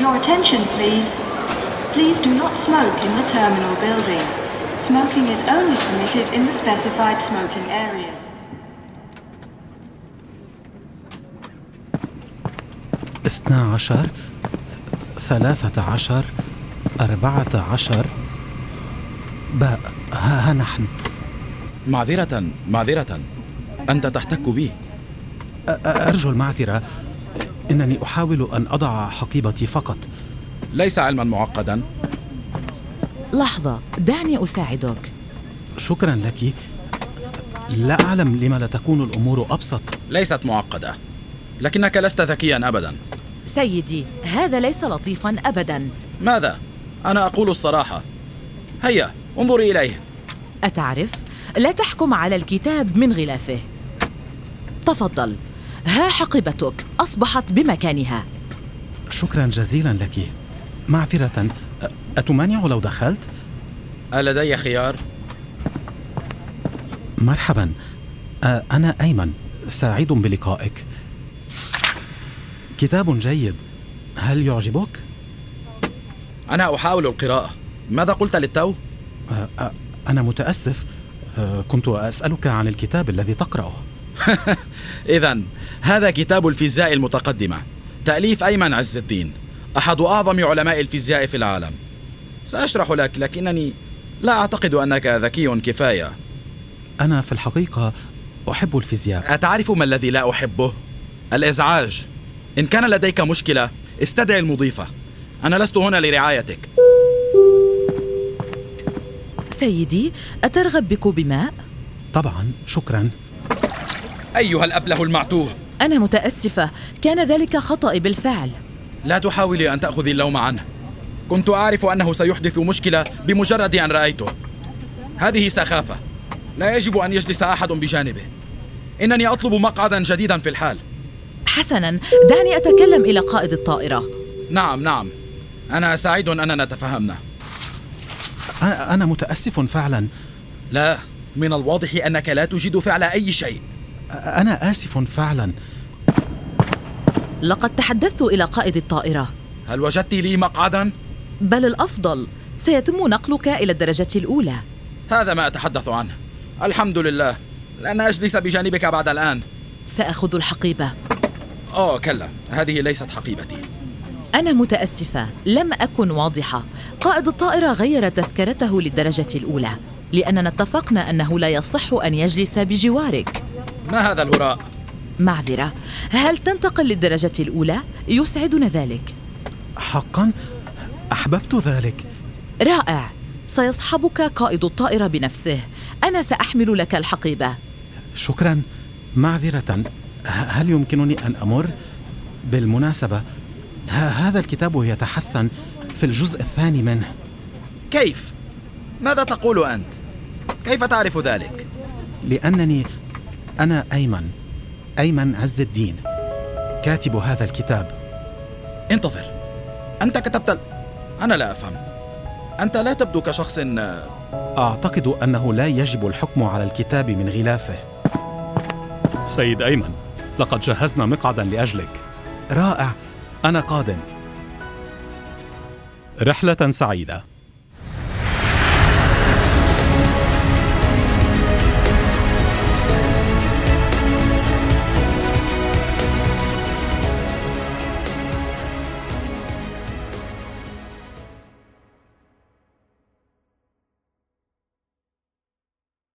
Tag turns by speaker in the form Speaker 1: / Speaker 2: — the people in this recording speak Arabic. Speaker 1: Your attention, please. Please do not smoke in the terminal building. Smoking is only permitted in the specified smoking areas.
Speaker 2: اثنا عشر ثلاثة عشر أربعة عشر باء ها, ها نحن
Speaker 3: معذرة معذرة أنت تحتك بي
Speaker 2: أ- أ- أرجو المعذرة إنني أحاول أن أضع حقيبتي فقط
Speaker 3: ليس علما معقدا
Speaker 4: لحظة دعني أساعدك
Speaker 2: شكرا لك لا أعلم لم لا تكون الأمور أبسط
Speaker 3: ليست معقدة لكنك لست ذكيا أبدا
Speaker 4: سيدي هذا ليس لطيفا أبدا
Speaker 3: ماذا؟ أنا أقول الصراحة هيا انظري إليه
Speaker 4: أتعرف لا تحكم على الكتاب من غلافه تفضل ها حقيبتك أصبحت بمكانها
Speaker 2: شكرا جزيلا لك معذرة أ- أتمانع لو دخلت؟
Speaker 3: ألدي خيار؟
Speaker 2: مرحبا أ- أنا أيمن سعيد بلقائك كتاب جيد هل يعجبك؟
Speaker 3: أنا أحاول القراءة ماذا قلت للتو؟
Speaker 2: أ- أ- أنا متأسف أ، كنت أسألك عن الكتاب الذي تقرأه
Speaker 3: إذا هذا كتاب الفيزياء المتقدمة تأليف أيمن عز الدين أحد أعظم علماء الفيزياء في العالم سأشرح لك لكنني لا أعتقد أنك ذكي كفاية
Speaker 2: أنا في الحقيقة أحب الفيزياء
Speaker 3: أتعرف ما الذي لا أحبه؟ الإزعاج إن كان لديك مشكلة استدعي المضيفة أنا لست هنا لرعايتك
Speaker 4: سيدي أترغب بكوب ماء؟
Speaker 2: طبعا شكرا
Speaker 3: أيها الأبله المعتوه
Speaker 4: أنا متأسفة كان ذلك خطأي بالفعل
Speaker 3: لا تحاولي أن تأخذي اللوم عنه كنت أعرف أنه سيحدث مشكلة بمجرد أن رأيته هذه سخافة لا يجب أن يجلس أحد بجانبه إنني أطلب مقعدا جديدا في الحال
Speaker 4: حسنا دعني أتكلم إلى قائد الطائرة
Speaker 3: نعم نعم أنا سعيد أننا تفهمنا
Speaker 2: أ- أنا متأسف فعلا
Speaker 3: لا من الواضح أنك لا تجيد فعل أي شيء
Speaker 2: أ- أنا آسف فعلا
Speaker 4: لقد تحدثت إلى قائد الطائرة
Speaker 3: هل وجدت لي مقعدا؟
Speaker 4: بل الأفضل سيتم نقلك إلى الدرجة الأولى
Speaker 3: هذا ما أتحدث عنه الحمد لله لن أجلس بجانبك بعد الآن
Speaker 4: سأخذ الحقيبة
Speaker 3: أوه كلا هذه ليست حقيبتي
Speaker 4: أنا متأسفة لم أكن واضحة قائد الطائرة غير تذكرته للدرجة الأولى لأننا اتفقنا أنه لا يصح أن يجلس بجوارك
Speaker 3: ما هذا الهراء؟
Speaker 4: معذرة هل تنتقل للدرجة الأولى؟ يسعدنا ذلك
Speaker 2: حقا أحببت ذلك
Speaker 4: رائع سيصحبك قائد الطائرة بنفسه أنا سأحمل لك الحقيبة
Speaker 2: شكرا معذرة ه- هل يمكنني أن أمر؟ بالمناسبة ه- هذا الكتاب يتحسن في الجزء الثاني منه
Speaker 3: كيف؟ ماذا تقول أنت؟ كيف تعرف ذلك؟
Speaker 2: لأنني أنا أيمن أيمن عز الدين كاتب هذا الكتاب
Speaker 3: انتظر أنت كتبت ال... أنا لا أفهم أنت لا تبدو كشخص آه،
Speaker 2: أعتقد أنه لا يجب الحكم على الكتاب من غلافه سيد أيمن لقد جهزنا مقعدا لأجلك رائع أنا قادم رحلة سعيدة